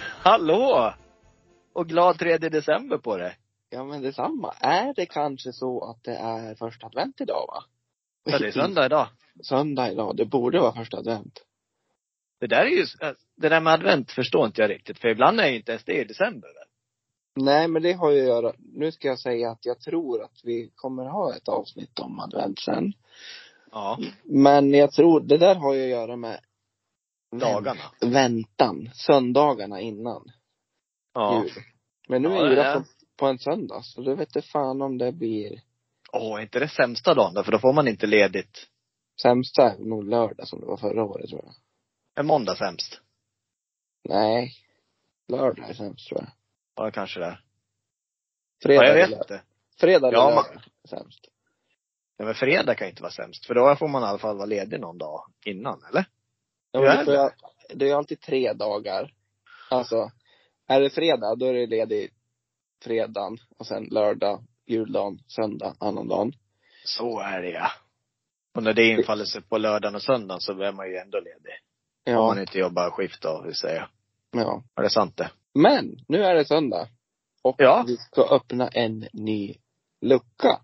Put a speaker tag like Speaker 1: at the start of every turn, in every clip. Speaker 1: Hallå! Och glad 3 december på det.
Speaker 2: Ja men detsamma. Är det kanske så att det är första advent idag va?
Speaker 1: Ja, det är söndag idag.
Speaker 2: Söndag idag. Det borde vara första advent.
Speaker 1: Det där är ju, äh, det där med advent förstår inte jag riktigt. För ibland är ju inte ens det i december. väl?
Speaker 2: Nej men det har ju att göra. Nu ska jag säga att jag tror att vi kommer ha ett avsnitt om advent sen.
Speaker 1: Ja,
Speaker 2: Men jag tror, det där har ju att göra med
Speaker 1: Mm. dagarna.
Speaker 2: väntan. Söndagarna innan
Speaker 1: Ja.
Speaker 2: jul. Men nu
Speaker 1: Ja,
Speaker 2: är
Speaker 1: det
Speaker 2: julafton
Speaker 1: är.
Speaker 2: på en söndag så då vet jag fan om det blir
Speaker 1: Åh, är inte det sämsta dagen då? För då får man inte ledigt.
Speaker 2: sämsta är nog lördag som det var förra året tror jag.
Speaker 1: En måndag sämst.
Speaker 2: Nej. Lördag är sämst tror jag.
Speaker 1: Ja, kanske det. Ja,
Speaker 2: Fredag
Speaker 1: jag
Speaker 2: är
Speaker 1: vet
Speaker 2: lördag.
Speaker 1: inte.
Speaker 2: Fredag eller
Speaker 1: Ja,
Speaker 2: lördag är sämst.
Speaker 1: Ja, men fredag kan ju inte vara sämst. För då får man i alla fall vara ledig någon dag innan, eller?
Speaker 2: Ja, men
Speaker 1: Hur
Speaker 2: det,
Speaker 1: är
Speaker 2: får jag, det är ju alltid tre dagar. Alltså, är det fredag då är det ledig fredagen och sen lördag, juldagen, söndag, annandagen.
Speaker 1: Så är det ja. Och när det infaller sig på lördagen och söndagen så är man ju ändå ledig. Om
Speaker 2: Ja,
Speaker 1: man inte jobbar skift då, vill säga.
Speaker 2: ja.
Speaker 1: Är det sant det?
Speaker 2: Men nu är det söndag och
Speaker 1: Ja.
Speaker 2: vi ska öppna en ny lucka.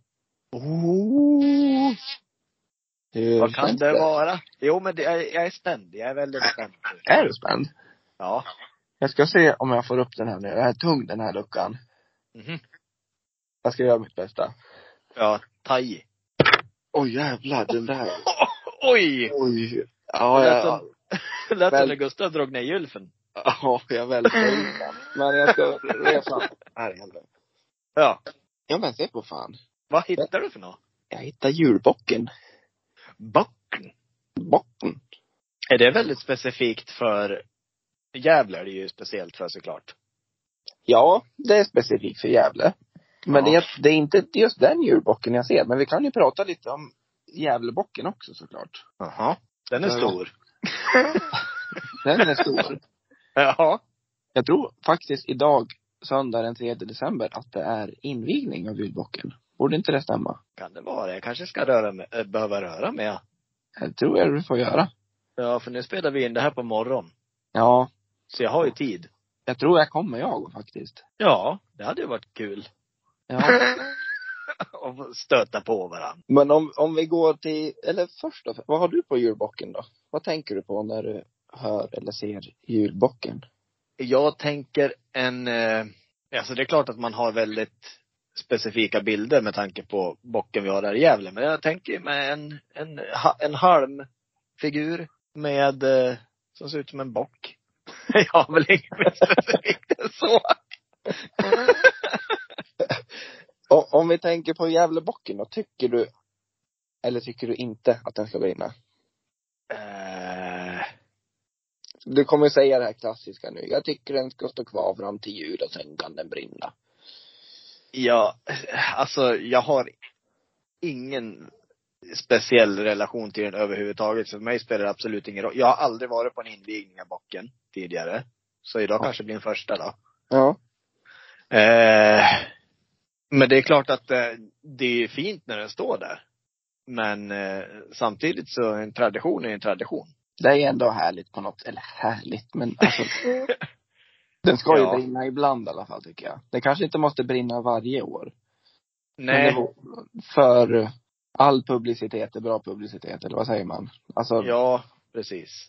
Speaker 1: Oh,
Speaker 2: Hur
Speaker 1: vad kan
Speaker 2: känns
Speaker 1: det vara? Jo men det, jag, jag är spänd. Jag är väldigt spänd. nu.
Speaker 2: Är du spänd?
Speaker 1: Ja.
Speaker 2: Jag ska se om jag får upp den här nu. Jag är tung den här luckan.
Speaker 1: Mhm.
Speaker 2: Jag ska göra mitt bästa.
Speaker 1: Ja, taj.
Speaker 2: Oj jävlar, den där.
Speaker 1: Oj!
Speaker 2: Oj. Ja,
Speaker 1: Det lät
Speaker 2: jag,
Speaker 1: som- Det lät som
Speaker 2: Väl-
Speaker 1: när Gustav drog ner gylfen.
Speaker 2: ja, jag välter ut den. Men jag ska resa. Här i helvete.
Speaker 1: Ja.
Speaker 2: Ja men se på fan.
Speaker 1: Vad hittar du för något?
Speaker 2: Jag hittade julbocken.
Speaker 1: Bocken.
Speaker 2: Bocken?
Speaker 1: Är det väldigt specifikt för Gävle är det ju speciellt för såklart.
Speaker 2: Ja, det är specifikt för Gävle. Men
Speaker 1: Ja.
Speaker 2: det, är, det är inte just den julbocken jag ser. Men vi kan ju prata lite om Gävlebocken också såklart.
Speaker 1: Jaha. Den är
Speaker 2: Ja.
Speaker 1: stor.
Speaker 2: Den är stor.
Speaker 1: Ja.
Speaker 2: jag tror faktiskt idag, söndag den 3 december, att det är invigning av julbocken. Borde inte det stämma?
Speaker 1: Kan det vara det? Jag kanske ska röra mig, äh, behöva röra mig. ja.
Speaker 2: Det tror jag du får göra.
Speaker 1: Ja, för nu spelar vi in det här på morgon.
Speaker 2: Ja,
Speaker 1: Så jag har ju tid.
Speaker 2: jag tror jag kommer jag faktiskt.
Speaker 1: Ja, det hade ju varit kul.
Speaker 2: Ja.
Speaker 1: Och få stöta på varandra.
Speaker 2: Men om, om vi går till, eller först då, vad har du på julbocken då? Vad tänker du på när du hör eller ser julbocken?
Speaker 1: Jag tänker en, eh, alltså det är klart att man har väldigt specifika bilder med tanke på bocken vi har där i Gävle. Men jag tänker med en, en, ha- en halmfigur med, eh, som ser ut som en bock. Jag har väl inget mer specifikt än så.
Speaker 2: Och, om vi tänker på Gävlebocken då, tycker du, eller tycker du inte att den ska brinna?
Speaker 1: Eh,
Speaker 2: Du kommer ju säga det här klassiska nu, jag tycker den ska stå kvar fram till jul och sen kan den brinna.
Speaker 1: Ja, alltså jag har ingen speciell relation till den överhuvudtaget. Så för mig spelar det absolut ingen roll. Jag har aldrig varit på en invigning av bocken tidigare. Så idag
Speaker 2: Ja.
Speaker 1: kanske blir den första då.
Speaker 2: Ja.
Speaker 1: Eh, men det är klart att eh, det är fint när den står där. Men eh, samtidigt så en tradition är en tradition.
Speaker 2: Det är ändå härligt på något, eller härligt men alltså. den ska ju
Speaker 1: Ja.
Speaker 2: brinna ibland i alla fall tycker jag. Det kanske inte måste brinna varje år.
Speaker 1: Nej.
Speaker 2: Men det var för eh, all publicitet är bra publicitet, eller vad säger man? Alltså,
Speaker 1: Ja, precis.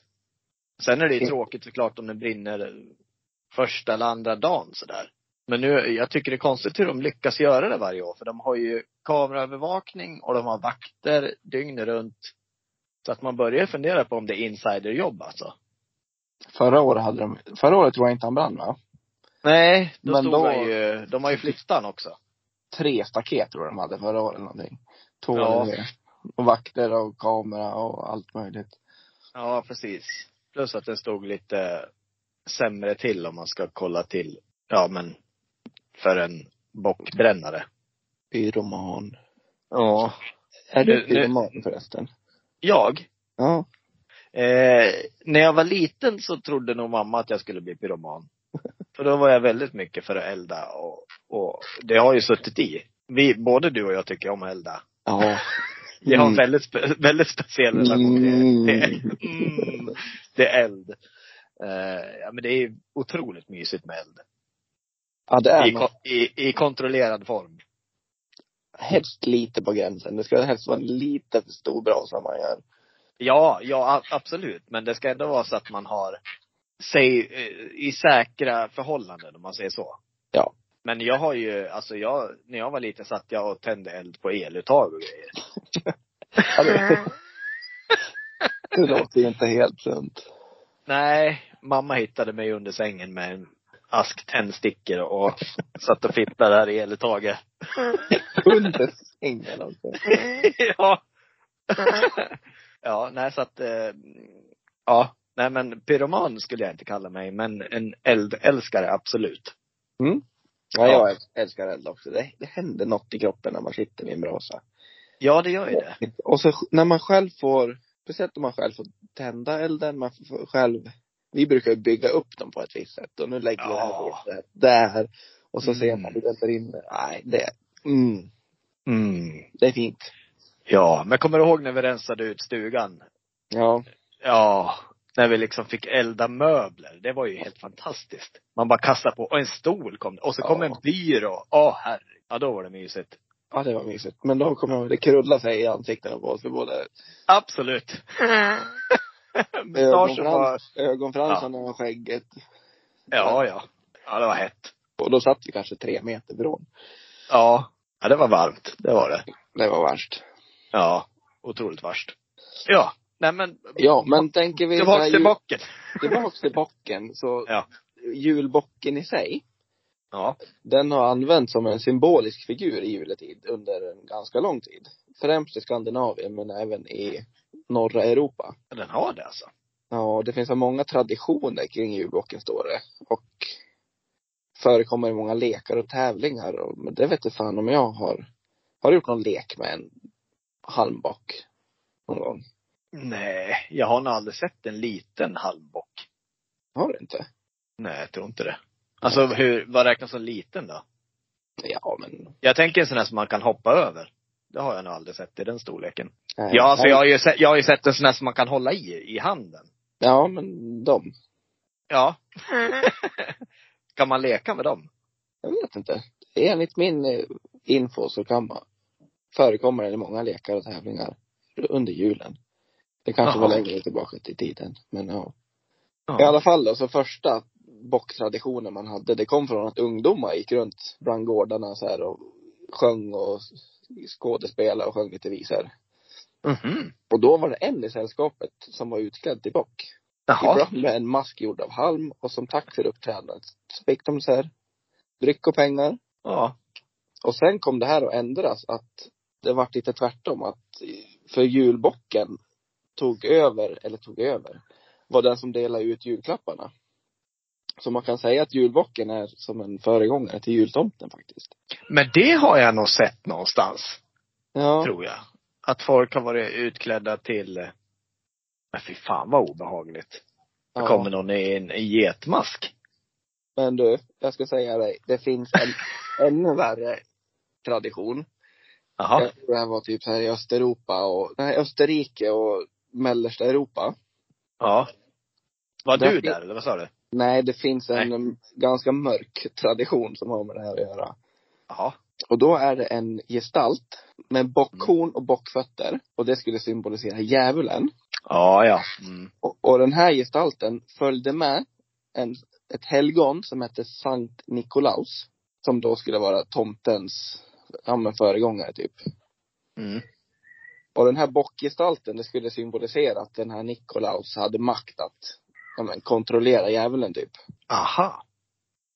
Speaker 1: Sen är det ju tråkigt såklart om den brinner första eller andra dagen sådär. Men nu, jag tycker det är konstigt hur de lyckas göra det varje år. För de har ju kameraövervakning och de har vakter dygnet runt. Så att man börjar fundera på om det är insiderjobb alltså.
Speaker 2: förra året hade de, förra året tror jag inte han brann va?
Speaker 1: Nej, då
Speaker 2: Men
Speaker 1: stod
Speaker 2: då-
Speaker 1: de ju, de har ju flyttan också.
Speaker 2: Tre staket tror jag de hade förra året eller någonting. Två
Speaker 1: Ja.
Speaker 2: eller tre. Och vakter och kamera och allt möjligt.
Speaker 1: Ja, precis. Plus att den stod lite sämre till om man ska kolla till, ja men, för en bockbrännare.
Speaker 2: Pyroman.
Speaker 1: Ja.
Speaker 2: Är du
Speaker 1: Nu- nu-
Speaker 2: pyroman förresten?
Speaker 1: Jag?
Speaker 2: Ja.
Speaker 1: Eh, när jag var liten så trodde nog mamma att jag skulle bli pyroman. För då var jag väldigt mycket för att elda och, och det har ju suttit i. Vi, både du och jag tycker om att elda.
Speaker 2: Ja.
Speaker 1: Vi har en
Speaker 2: Mm.
Speaker 1: väldigt, spe, väldigt speciell relation till, till, mm, till Mm. eld. Eh, ja, men det är otroligt mysigt med eld.
Speaker 2: Ja, det
Speaker 1: I,
Speaker 2: är något,
Speaker 1: ko- i, i kontrollerad form.
Speaker 2: helst lite på gränsen. Det ska helst vara en liten stor brasa man gör.
Speaker 1: Ja, ja a- absolut. Men det ska ändå vara så att man har sig eh, i säkra förhållanden om man säger så.
Speaker 2: Ja.
Speaker 1: Men jag har ju, alltså jag, när jag var liten satt jag och tände eld på eluttag och grejer.
Speaker 2: Ja,
Speaker 1: Mm.
Speaker 2: det, det låter ju inte helt sunt.
Speaker 1: Nej, mamma hittade mig under sängen med en ask tändstickor och satt och fipplade där i eluttaget.
Speaker 2: Under sängen också.
Speaker 1: ja. ja, nej så att, eh, ja. Nej men pyroman skulle jag inte kalla mig, men en eldälskare absolut.
Speaker 2: Mm. Ja, jag älskar eld också. Det, det händer något i kroppen när man sitter vid en brasa.
Speaker 1: Ja, det gör ju det.
Speaker 2: Och så när man själv får, speciellt om man själv får tända elden, man får själv, vi brukar ju bygga upp dem på ett visst sätt och nu lägger vi det här
Speaker 1: Ja.
Speaker 2: vetet där. Och så ser
Speaker 1: Mm.
Speaker 2: man hur den brinner. Nej, det, mm,
Speaker 1: Mm.
Speaker 2: det är fint.
Speaker 1: Ja, men kommer du ihåg när vi rensade ut stugan?
Speaker 2: Ja.
Speaker 1: Ja, när vi liksom fick elda möbler. Det var ju helt fantastiskt. Man bara kastade på, och en stol kom det. Och så kom
Speaker 2: Ja.
Speaker 1: en byrå. Åh herre. Ja, då var det mysigt.
Speaker 2: Ja, det var mysigt. Men då kommer jag ihåg, det krullade sig i ansiktena på oss för både
Speaker 1: Absolut. Mustaschen var,
Speaker 2: ögonfrans, ögonfransarna och skägget.
Speaker 1: ja, ja. Ja, det var hett.
Speaker 2: Och då satt vi kanske tre meter ifrån.
Speaker 1: Ja. Ja, det var varmt. Det var det.
Speaker 2: Det var värst.
Speaker 1: Ja. Otroligt värst. Ja. Nej men,
Speaker 2: Ja, men tänker vi så här
Speaker 1: tillbaks till bocken.
Speaker 2: jul- tillbaks till bocken. Så
Speaker 1: Ja.
Speaker 2: julbocken i sig,
Speaker 1: Ja.
Speaker 2: den har använts som en symbolisk figur i juletid under en ganska lång tid. Främst i Skandinavien men även i norra Europa.
Speaker 1: Den har det alltså.
Speaker 2: Ja, det finns så många traditioner kring julbocken står det. Och förekommer i många lekar och tävlingar. Och, men det vet jag fan om jag har, har du gjort någon lek med en halmbock någon gång.
Speaker 1: Nej, jag har nog aldrig sett en liten halmbock.
Speaker 2: Har du inte?
Speaker 1: Nej, jag tror inte det. Alltså hur, vad räknas som liten då?
Speaker 2: Ja, men.
Speaker 1: Jag tänker en sån här som man kan hoppa över. Det har jag nog aldrig sett i den storleken.
Speaker 2: nej.
Speaker 1: Ja, alltså jag har ju sett, jag har ju sett en sån här som man kan hålla i, i handen.
Speaker 2: Ja, men de.
Speaker 1: Ja. kan man leka med dem?
Speaker 2: Jag vet inte. Enligt min eh, info så kan man, förekommer den i många lekar och tävlingar under julen. Det kanske var
Speaker 1: Jaha.
Speaker 2: längre tillbaka i tiden, men ja.
Speaker 1: Ja.
Speaker 2: I alla fall då, så första bocktraditionen man hade, det kom från att ungdomar gick runt bland gårdarna så här och sjöng och skådespelade och sjöng lite visor.
Speaker 1: Mhm.
Speaker 2: Och då var det en i sällskapet som var utklädd till bock.
Speaker 1: Jaha.
Speaker 2: Ibland med en mask gjord av halm och som tack för uppträdandet så fick de så här dryck och pengar.
Speaker 1: Ja.
Speaker 2: Och sen kom det här att ändras att det vart lite tvärtom att för julbocken tog över, eller tog över, var den som delade ut julklapparna. Så man kan säga att julbocken är som en föregångare till jultomten faktiskt.
Speaker 1: Men det har jag nog sett någonstans,
Speaker 2: Ja,
Speaker 1: tror jag. Att folk har varit utklädda till, eh, men fy fan vad obehagligt. Det kommer
Speaker 2: ja.
Speaker 1: någon i en, en getmask.
Speaker 2: men du, jag ska säga dig, det finns en ännu värre tradition.
Speaker 1: Jaha.
Speaker 2: Jag tror det här var typ så här i Östeuropa och, nej Österrike och mellersta Europa.
Speaker 1: Ja. Var
Speaker 2: Där
Speaker 1: du
Speaker 2: fin-
Speaker 1: där eller vad sa du?
Speaker 2: Nej, det finns en ganska mörk tradition som har med det här att göra.
Speaker 1: Jaha.
Speaker 2: Och då är det en gestalt med bockhorn och bockfötter. Och det skulle symbolisera djävulen.
Speaker 1: Ja, ja. Mm.
Speaker 2: Och, och den här gestalten följde med en, ett helgon som hette Sankt Nikolaus. Som då skulle vara tomtens, ja men föregångare typ.
Speaker 1: Mm.
Speaker 2: Och den här bockgestalten, det skulle symbolisera att den här Nikolaus hade makt att, ja men kontrollera djävulen typ.
Speaker 1: Aha.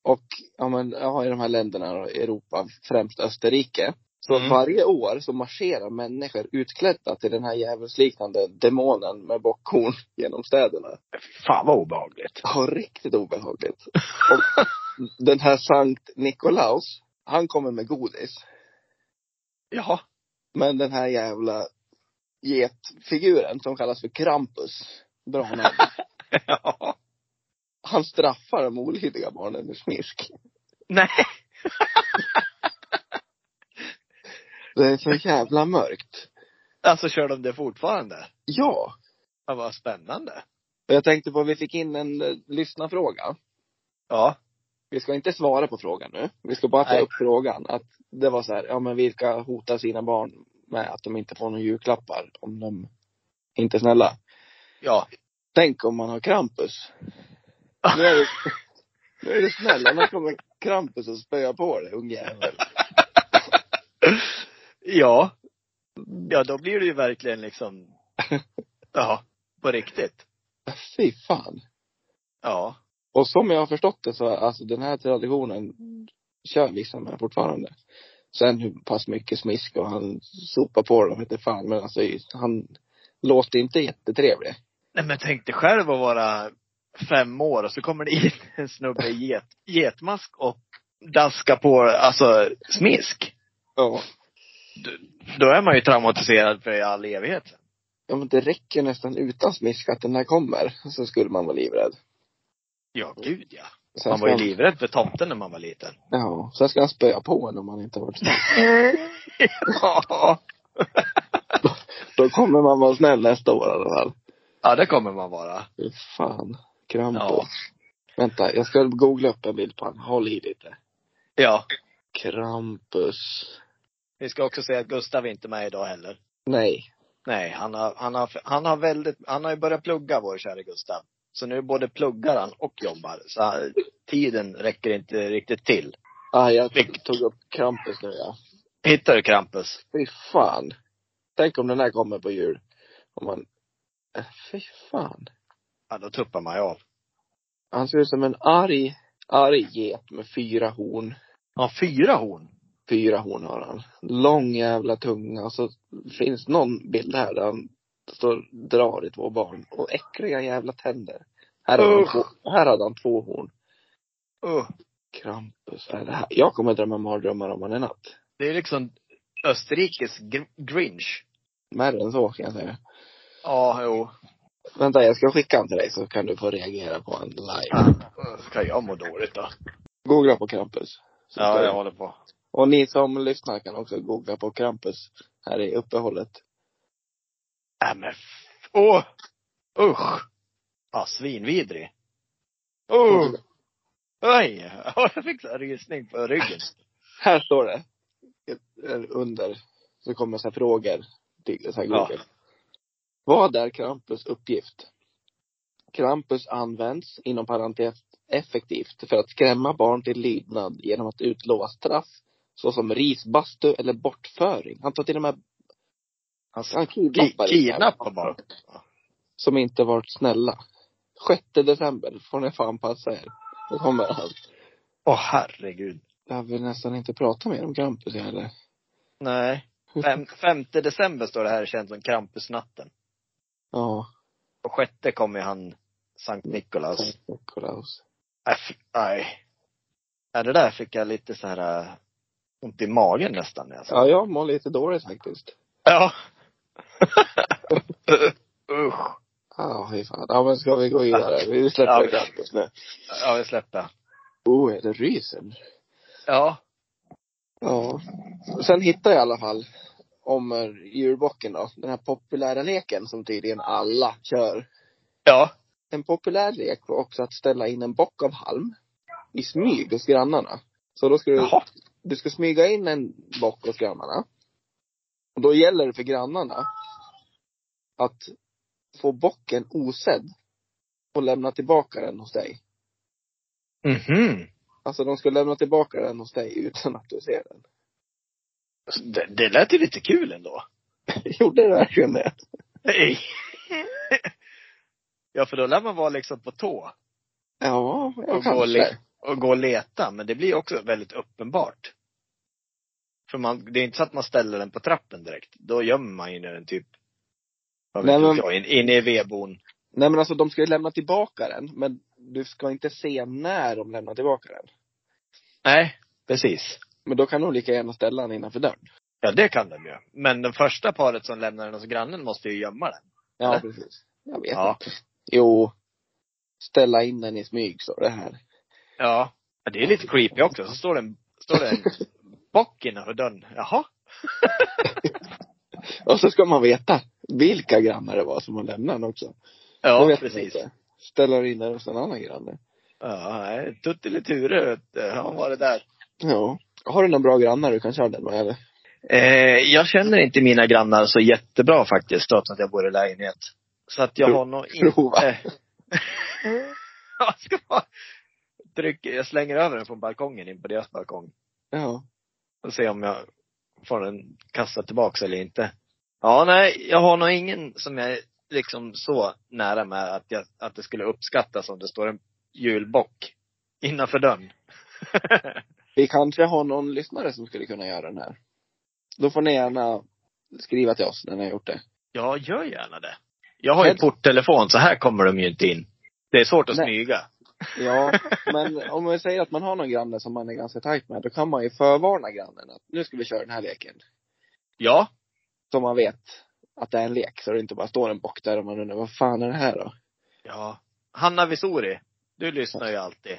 Speaker 2: Och ja, men, ja, i de här länderna då, i Europa, främst Österrike. Så
Speaker 1: Mm.
Speaker 2: varje år så marscherar människor utklädda till den här djävulsliknande demonen med bockhorn genom städerna.
Speaker 1: Fan vad obehagligt.
Speaker 2: Ja, riktigt obehagligt. Och den här Sankt Nikolaus, han kommer med godis.
Speaker 1: Jaha.
Speaker 2: Men den här jävla getfiguren som kallas för Krampus, bra namn.
Speaker 1: Ja.
Speaker 2: Han straffar de olydiga barnen med smisk.
Speaker 1: Nej.
Speaker 2: Det är så jävla mörkt.
Speaker 1: Alltså kör de det fortfarande?
Speaker 2: Ja.
Speaker 1: Ja, vad spännande.
Speaker 2: Och jag tänkte på, vi fick in en eh, lyssnarfråga.
Speaker 1: Ja.
Speaker 2: Vi ska inte svara på frågan nu. Vi ska bara ta
Speaker 1: Nej.
Speaker 2: upp frågan. Att det var så här, ja men vilka hotar sina barn med att de inte får några julklappar om de inte är snälla?
Speaker 1: Ja.
Speaker 2: Tänk om man har Krampus. Nu är du, nu är du snäll, annars kommer Krampus och spöa på dig, ungjävel.
Speaker 1: Ja. Ja, då blir det ju verkligen liksom, ja, på riktigt.
Speaker 2: Fy fan.
Speaker 1: Ja.
Speaker 2: Och som jag har förstått det så, alltså den här traditionen kör vissa med fortfarande. Sen hur pass mycket smisk och han sopar på dem inte fan, men alltså han låter inte jättetrevlig.
Speaker 1: Nej men tänk dig själv att vara fem år och så kommer det in en snubbe i get, getmask och daskar på, alltså smisk.
Speaker 2: Ja.
Speaker 1: Då är man ju traumatiserad för all evighet.
Speaker 2: Ja men det räcker nästan utan smisk att den här kommer, så skulle man vara livrädd.
Speaker 1: Ja, gud ja.
Speaker 2: Sen
Speaker 1: Man var ju
Speaker 2: ska-
Speaker 1: livrädd för tomten när man var liten.
Speaker 2: Ja, sen ska han spöa på en om man inte har varit snäll.
Speaker 1: ja.
Speaker 2: Då kommer man vara snäll nästa år i alla fall.
Speaker 1: Ja, det kommer man vara.
Speaker 2: Fy fan. Krampus.
Speaker 1: Ja.
Speaker 2: Vänta, jag ska googla upp en bild på honom. Håll i lite.
Speaker 1: Ja.
Speaker 2: Krampus.
Speaker 1: Vi ska också säga att Gustav är inte med idag heller.
Speaker 2: Nej.
Speaker 1: Nej, han har, han har, han har väldigt, han har ju börjat plugga vår kära Gustav. Så nu både pluggar han och jobbar. Så han- tiden räcker inte riktigt till.
Speaker 2: Ah, jag
Speaker 1: Vilket-
Speaker 2: tog upp Krampus nu ja.
Speaker 1: Hittar du Krampus?
Speaker 2: Fy fan. Tänk om den här kommer på jul. Om man... Eh, Fy fan.
Speaker 1: Ja, då tuppar man ju av.
Speaker 2: Han ser ut som en arg, arg get med fyra horn.
Speaker 1: Ja, fyra horn.
Speaker 2: Fyra horn har han. Lång jävla tunga. Och så finns någon bild här där han står och drar i två barn. Och äckliga jävla tänder. Här hade, han
Speaker 1: Usch.
Speaker 2: två, här hade han två horn.
Speaker 1: Uh,
Speaker 2: Krampus. Är det här? Jag kommer drömma mardrömmar om han är natt.
Speaker 1: det är liksom Österrikes gr- grinch.
Speaker 2: Värre än så kan jag säga.
Speaker 1: Ja, jo.
Speaker 2: Vänta, jag ska skicka han till dig så kan du få reagera på en live.
Speaker 1: Uh, Ska jag må dåligt då?
Speaker 2: Googla på Krampus. Så ska
Speaker 1: Ja,
Speaker 2: du-
Speaker 1: jag håller på.
Speaker 2: Och ni som lyssnar kan också googla på Krampus här i uppehållet.
Speaker 1: Nej Äh, men, f- åh! Usch! Ja, svinvidrig. Oh! Oj! Ja, Jag fick så här rysning på ryggen.
Speaker 2: Här står det. Ett- eh, Under. Så kommer så här frågor. till Så här Google. Vad är Krampus uppgift? Krampus används, inom parentes, effektivt för att skrämma barn till lydnad genom att utlova straff såsom risbastu eller bortföring. Han tar till och med
Speaker 1: Han
Speaker 2: han
Speaker 1: ki-
Speaker 2: kidnappar
Speaker 1: kidnappar bara.
Speaker 2: som inte varit snälla. 6 december får ni fan passa er. Då kommer han.
Speaker 1: Åh herregud.
Speaker 2: Jag vill nästan inte prata mer om Krampus heller.
Speaker 1: Nej. Fem, 5 december står det här, känns som Krampusnatten.
Speaker 2: Ja,
Speaker 1: Och sjätte kommer ju han, Sankt Nikolaus.
Speaker 2: Sankt Nikolaus.
Speaker 1: Nej, f- Nej. Ja, det där fick jag lite så här äh, ont i magen nästan när jag sa.
Speaker 2: Ja, jag mår lite dåligt faktiskt.
Speaker 1: Ja. Usch.
Speaker 2: Ja, fy fan. Ja, men ska vi gå vidare? Vi
Speaker 1: Ja,
Speaker 2: släpper
Speaker 1: vi-
Speaker 2: Krampus nu.
Speaker 1: Ja, vi släpper.
Speaker 2: Oh, är det rysen?
Speaker 1: Ja.
Speaker 2: Ja. Sen hittade jag i alla fall om eh, julbocken då. Den här populära leken som tydligen alla kör.
Speaker 1: Ja.
Speaker 2: En populär lek var också att ställa in en bock av halm i smyg hos grannarna. Så då ska du
Speaker 1: Jaha.
Speaker 2: du ska smyga in en bock hos grannarna. Och då gäller det för grannarna att få bocken osedd och lämna tillbaka den hos dig.
Speaker 1: Mhm.
Speaker 2: Alltså de ska lämna tillbaka den hos dig utan att du ser den.
Speaker 1: Alltså, Det, det lät ju lite kul ändå.
Speaker 2: Gjorde det verkligen det?
Speaker 1: Nej. ja, för då lär man vara liksom på tå
Speaker 2: Ja, ja
Speaker 1: och gå och, le-
Speaker 2: kanske.
Speaker 1: och gå och leta. Men det blir också väldigt uppenbart. För man, det är inte så att man ställer den på trappen direkt. Då gömmer man ju den typ, vad vet
Speaker 2: Nej,
Speaker 1: men...
Speaker 2: men-
Speaker 1: jag, in- inne i vedboden.
Speaker 2: Nej men alltså de ska ju lämna tillbaka den, men du ska inte se när de lämnar tillbaka den.
Speaker 1: Nej, precis.
Speaker 2: Men då kan de lika gärna ställa den innanför dörren.
Speaker 1: Ja, det kan de ju. Men det första paret som lämnar den hos grannen måste ju gömma den.
Speaker 2: Ja,
Speaker 1: Eller?
Speaker 2: precis. Jag vet
Speaker 1: Ja.
Speaker 2: inte. Jo. Ställa in den i smyg, står det här.
Speaker 1: Ja. Ja, Det är lite creepy också. Så står det en, står det en bock innanför dörren. Jaha.
Speaker 2: Och så ska man veta vilka grannar det var som har lämnat den också. Det
Speaker 1: Ja,
Speaker 2: vet man
Speaker 1: precis.
Speaker 2: inte. Ställer in den hos en annan granne.
Speaker 1: Ja, nej, Tuttiluture vet du. Han var det där.
Speaker 2: Ja. Har du några bra grannar du kan köra den med eller?
Speaker 1: Eh, jag känner inte mina grannar så jättebra faktiskt, trots att jag bor i lägenhet. Så att jag
Speaker 2: Pro-
Speaker 1: har nog inte... Eh.
Speaker 2: Prova.
Speaker 1: jag ska bara trycka, jag slänger över den från balkongen in på deras balkong.
Speaker 2: Ja.
Speaker 1: Och se om jag får den kastad tillbaks eller inte. Ja, nej, jag har nog ingen som jag är liksom så nära med att, jag, att det skulle uppskattas om det står en julbock innanför dörren.
Speaker 2: Vi kanske har någon lyssnare som skulle kunna göra den här. Då får ni gärna skriva till oss när ni har gjort det.
Speaker 1: Ja, gör gärna det. Jag har ju
Speaker 2: Men-
Speaker 1: porttelefon, så här kommer de ju inte in. Det är svårt att
Speaker 2: Nej.
Speaker 1: smyga.
Speaker 2: Ja, men om vi säger att man har någon granne som man är ganska tajt med, då kan man ju förvarna grannen att nu ska vi köra den här leken.
Speaker 1: Ja,
Speaker 2: Så man vet att det är en lek, så det inte bara står en bock där och man undrar vad fan är det här då?
Speaker 1: Ja. Hanna Visori, du lyssnar ju alltid.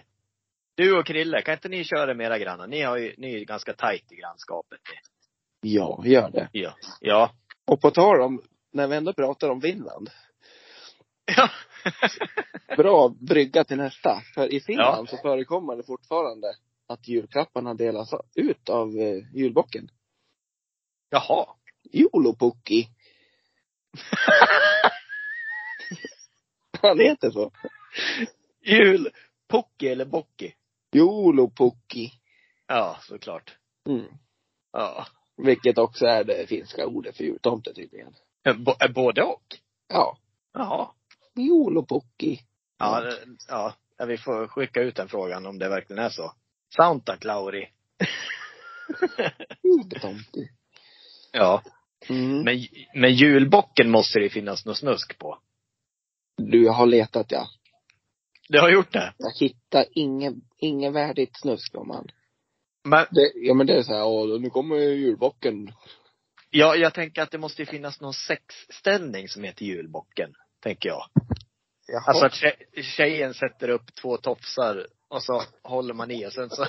Speaker 1: Du och Krille, kan inte ni köra med era grannar? Ni, har ju, ni är ju ganska tajt i grannskapet. ni.
Speaker 2: Ja, gör det.
Speaker 1: Ja. Ja.
Speaker 2: Och på tal om, när vi ändå pratar om Finland.
Speaker 1: Ja.
Speaker 2: Bra brygga till nästa. För i Finland så förekommer det fortfarande att julklapparna delas ut av eh, julbocken.
Speaker 1: Jaha.
Speaker 2: Joulupukki. Han heter så.
Speaker 1: Jul. Pocki eller Bocki?
Speaker 2: Joulupukki.
Speaker 1: Ja, såklart.
Speaker 2: Mm.
Speaker 1: Ja.
Speaker 2: Vilket också är det finska ordet för jultomte tydligen.
Speaker 1: B- Eh, både och?
Speaker 2: Ja.
Speaker 1: Jaha.
Speaker 2: Joulupukki.
Speaker 1: Ja, det- ja. Ja, vi får skicka ut den frågan om det verkligen är så. Santa Clauri.
Speaker 2: Jultomte.
Speaker 1: Ja.
Speaker 2: Mm.
Speaker 1: Men, men julbocken måste det ju finnas något snusk på.
Speaker 2: Du, jag har letat ja.
Speaker 1: Du har gjort det?
Speaker 2: Jag hittar ingen, ingen värdigt snusk om han.
Speaker 1: Men
Speaker 2: Det, ja men det är så här, åh, nu kommer ju julbocken.
Speaker 1: ja, jag tänker att det måste ju finnas någon sexställning som heter julbocken. Tänker jag.
Speaker 2: Jaha.
Speaker 1: Alltså att tje- tjejen sätter upp två tofsar och så håller man i och sen så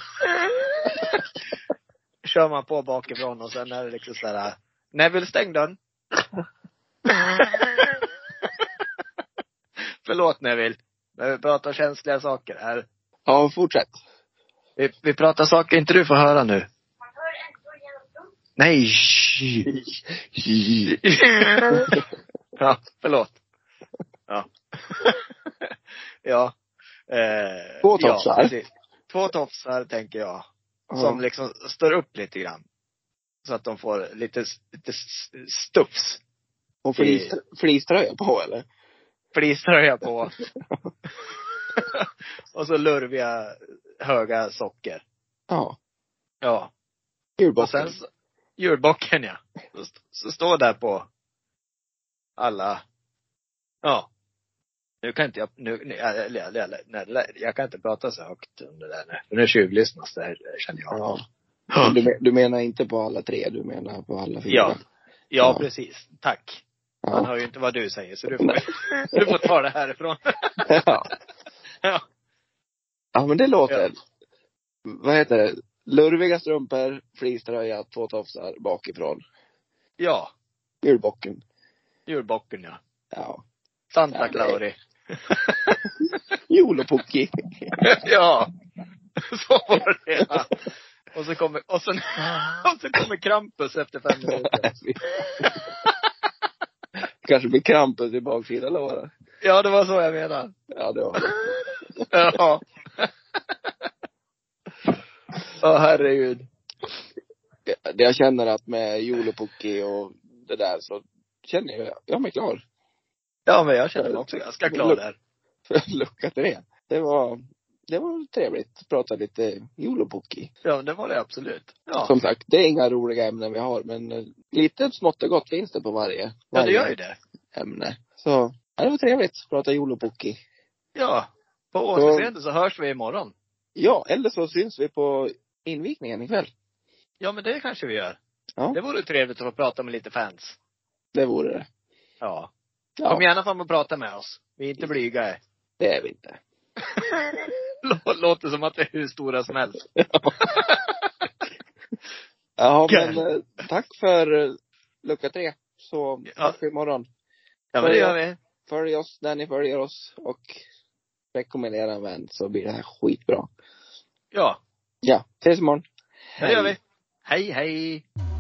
Speaker 1: kör man på bakifrån och sen är det liksom så här. Neville stäng dörren. Förlåt Neville. Men vi pratar känsliga saker här.
Speaker 2: ja, fortsätt.
Speaker 1: Vi, vi pratar saker inte du får höra nu.
Speaker 3: Man hör ändå genom rummet.
Speaker 1: Nej! ja, förlåt. Ja. ja. Eh,
Speaker 2: Två tofsar.
Speaker 1: Ja, precis. Två tofsar tänker jag. Som
Speaker 2: Ja.
Speaker 1: liksom står upp lite grann. Så att de får lite, lite s- stufs.
Speaker 2: Och flis, fliströja på eller?
Speaker 1: Fleecetröja på. och så lurviga höga socker.
Speaker 2: Ja.
Speaker 1: Ja. Och
Speaker 2: Julbocken.
Speaker 1: sen så, julbocken ja. Så, st- så står där på alla, ja. Nu kan inte jag, nu, nu eller, eller, eller, nej, jag kan inte prata så högt om det där nu. För Nu tjuvlyssnas det här, känner jag.
Speaker 2: Ja. Men Du, men- du menar inte på alla tre, du menar på alla fyra?
Speaker 1: Ja. Ja,
Speaker 2: Ja.
Speaker 1: precis. Tack. Man
Speaker 2: Ja.
Speaker 1: hör ju inte vad du säger, så du får, du får ta det härifrån.
Speaker 2: ja.
Speaker 1: Ja.
Speaker 2: Ja men det låter.
Speaker 1: Ja.
Speaker 2: Vad heter det? Lurviga strumpor, fleecetröja, två tofsar bakifrån.
Speaker 1: Ja,
Speaker 2: Julbocken.
Speaker 1: julbocken ja.
Speaker 2: Ja.
Speaker 1: Santa Clauri.
Speaker 2: Jolopukki.
Speaker 1: Ja. Så var det ja. Och så kommer, och sen, och så kommer Krampus efter fem minuter.
Speaker 2: Kanske blir Krampus i baksidan låren.
Speaker 1: Ja, det var så jag menade.
Speaker 2: Ja, det var
Speaker 1: Ja. Ja, herregud.
Speaker 2: det. det Jag känner att med Jolopukki och det där så känner jag, jag är mig klar.
Speaker 1: Ja, men jag känner mig också ganska klar där.
Speaker 2: Lucka till det. Det var, det var trevligt. Prata lite Jolopukki.
Speaker 1: Ja, men det var det absolut. Ja,
Speaker 2: Som sagt, det är inga roliga ämnen vi har, men eh, lite smått och gott finns det på varje,
Speaker 1: ja det
Speaker 2: varje
Speaker 1: gör ju det.
Speaker 2: ämne. Så, ja, det var trevligt. Prata Jolopukki.
Speaker 1: Ja. På återseende så hörs vi imorgon.
Speaker 2: Ja, eller så syns vi på invigningen ikväll.
Speaker 1: Ja, men det kanske vi gör.
Speaker 2: Ja.
Speaker 1: Det vore trevligt att få prata med lite fans.
Speaker 2: Det vore det.
Speaker 1: Ja. Kom
Speaker 2: Ja,
Speaker 1: gärna fram och prata med oss. Vi är inte blyga.
Speaker 2: det är vi inte.
Speaker 1: Lå- Låter som att det är hur stora som helst.
Speaker 2: Ja,
Speaker 1: Okej.
Speaker 2: men eh, tack för eh, lucka tre. Så
Speaker 1: Ja.
Speaker 2: hörs vi imorgon.
Speaker 1: Ja, men det gör vi.
Speaker 2: Följ oss när ni följer oss och rekommendera en vän så blir det här skitbra.
Speaker 1: Ja,
Speaker 2: Ja, ses imorgon.
Speaker 1: det gör vi. Hej, hej.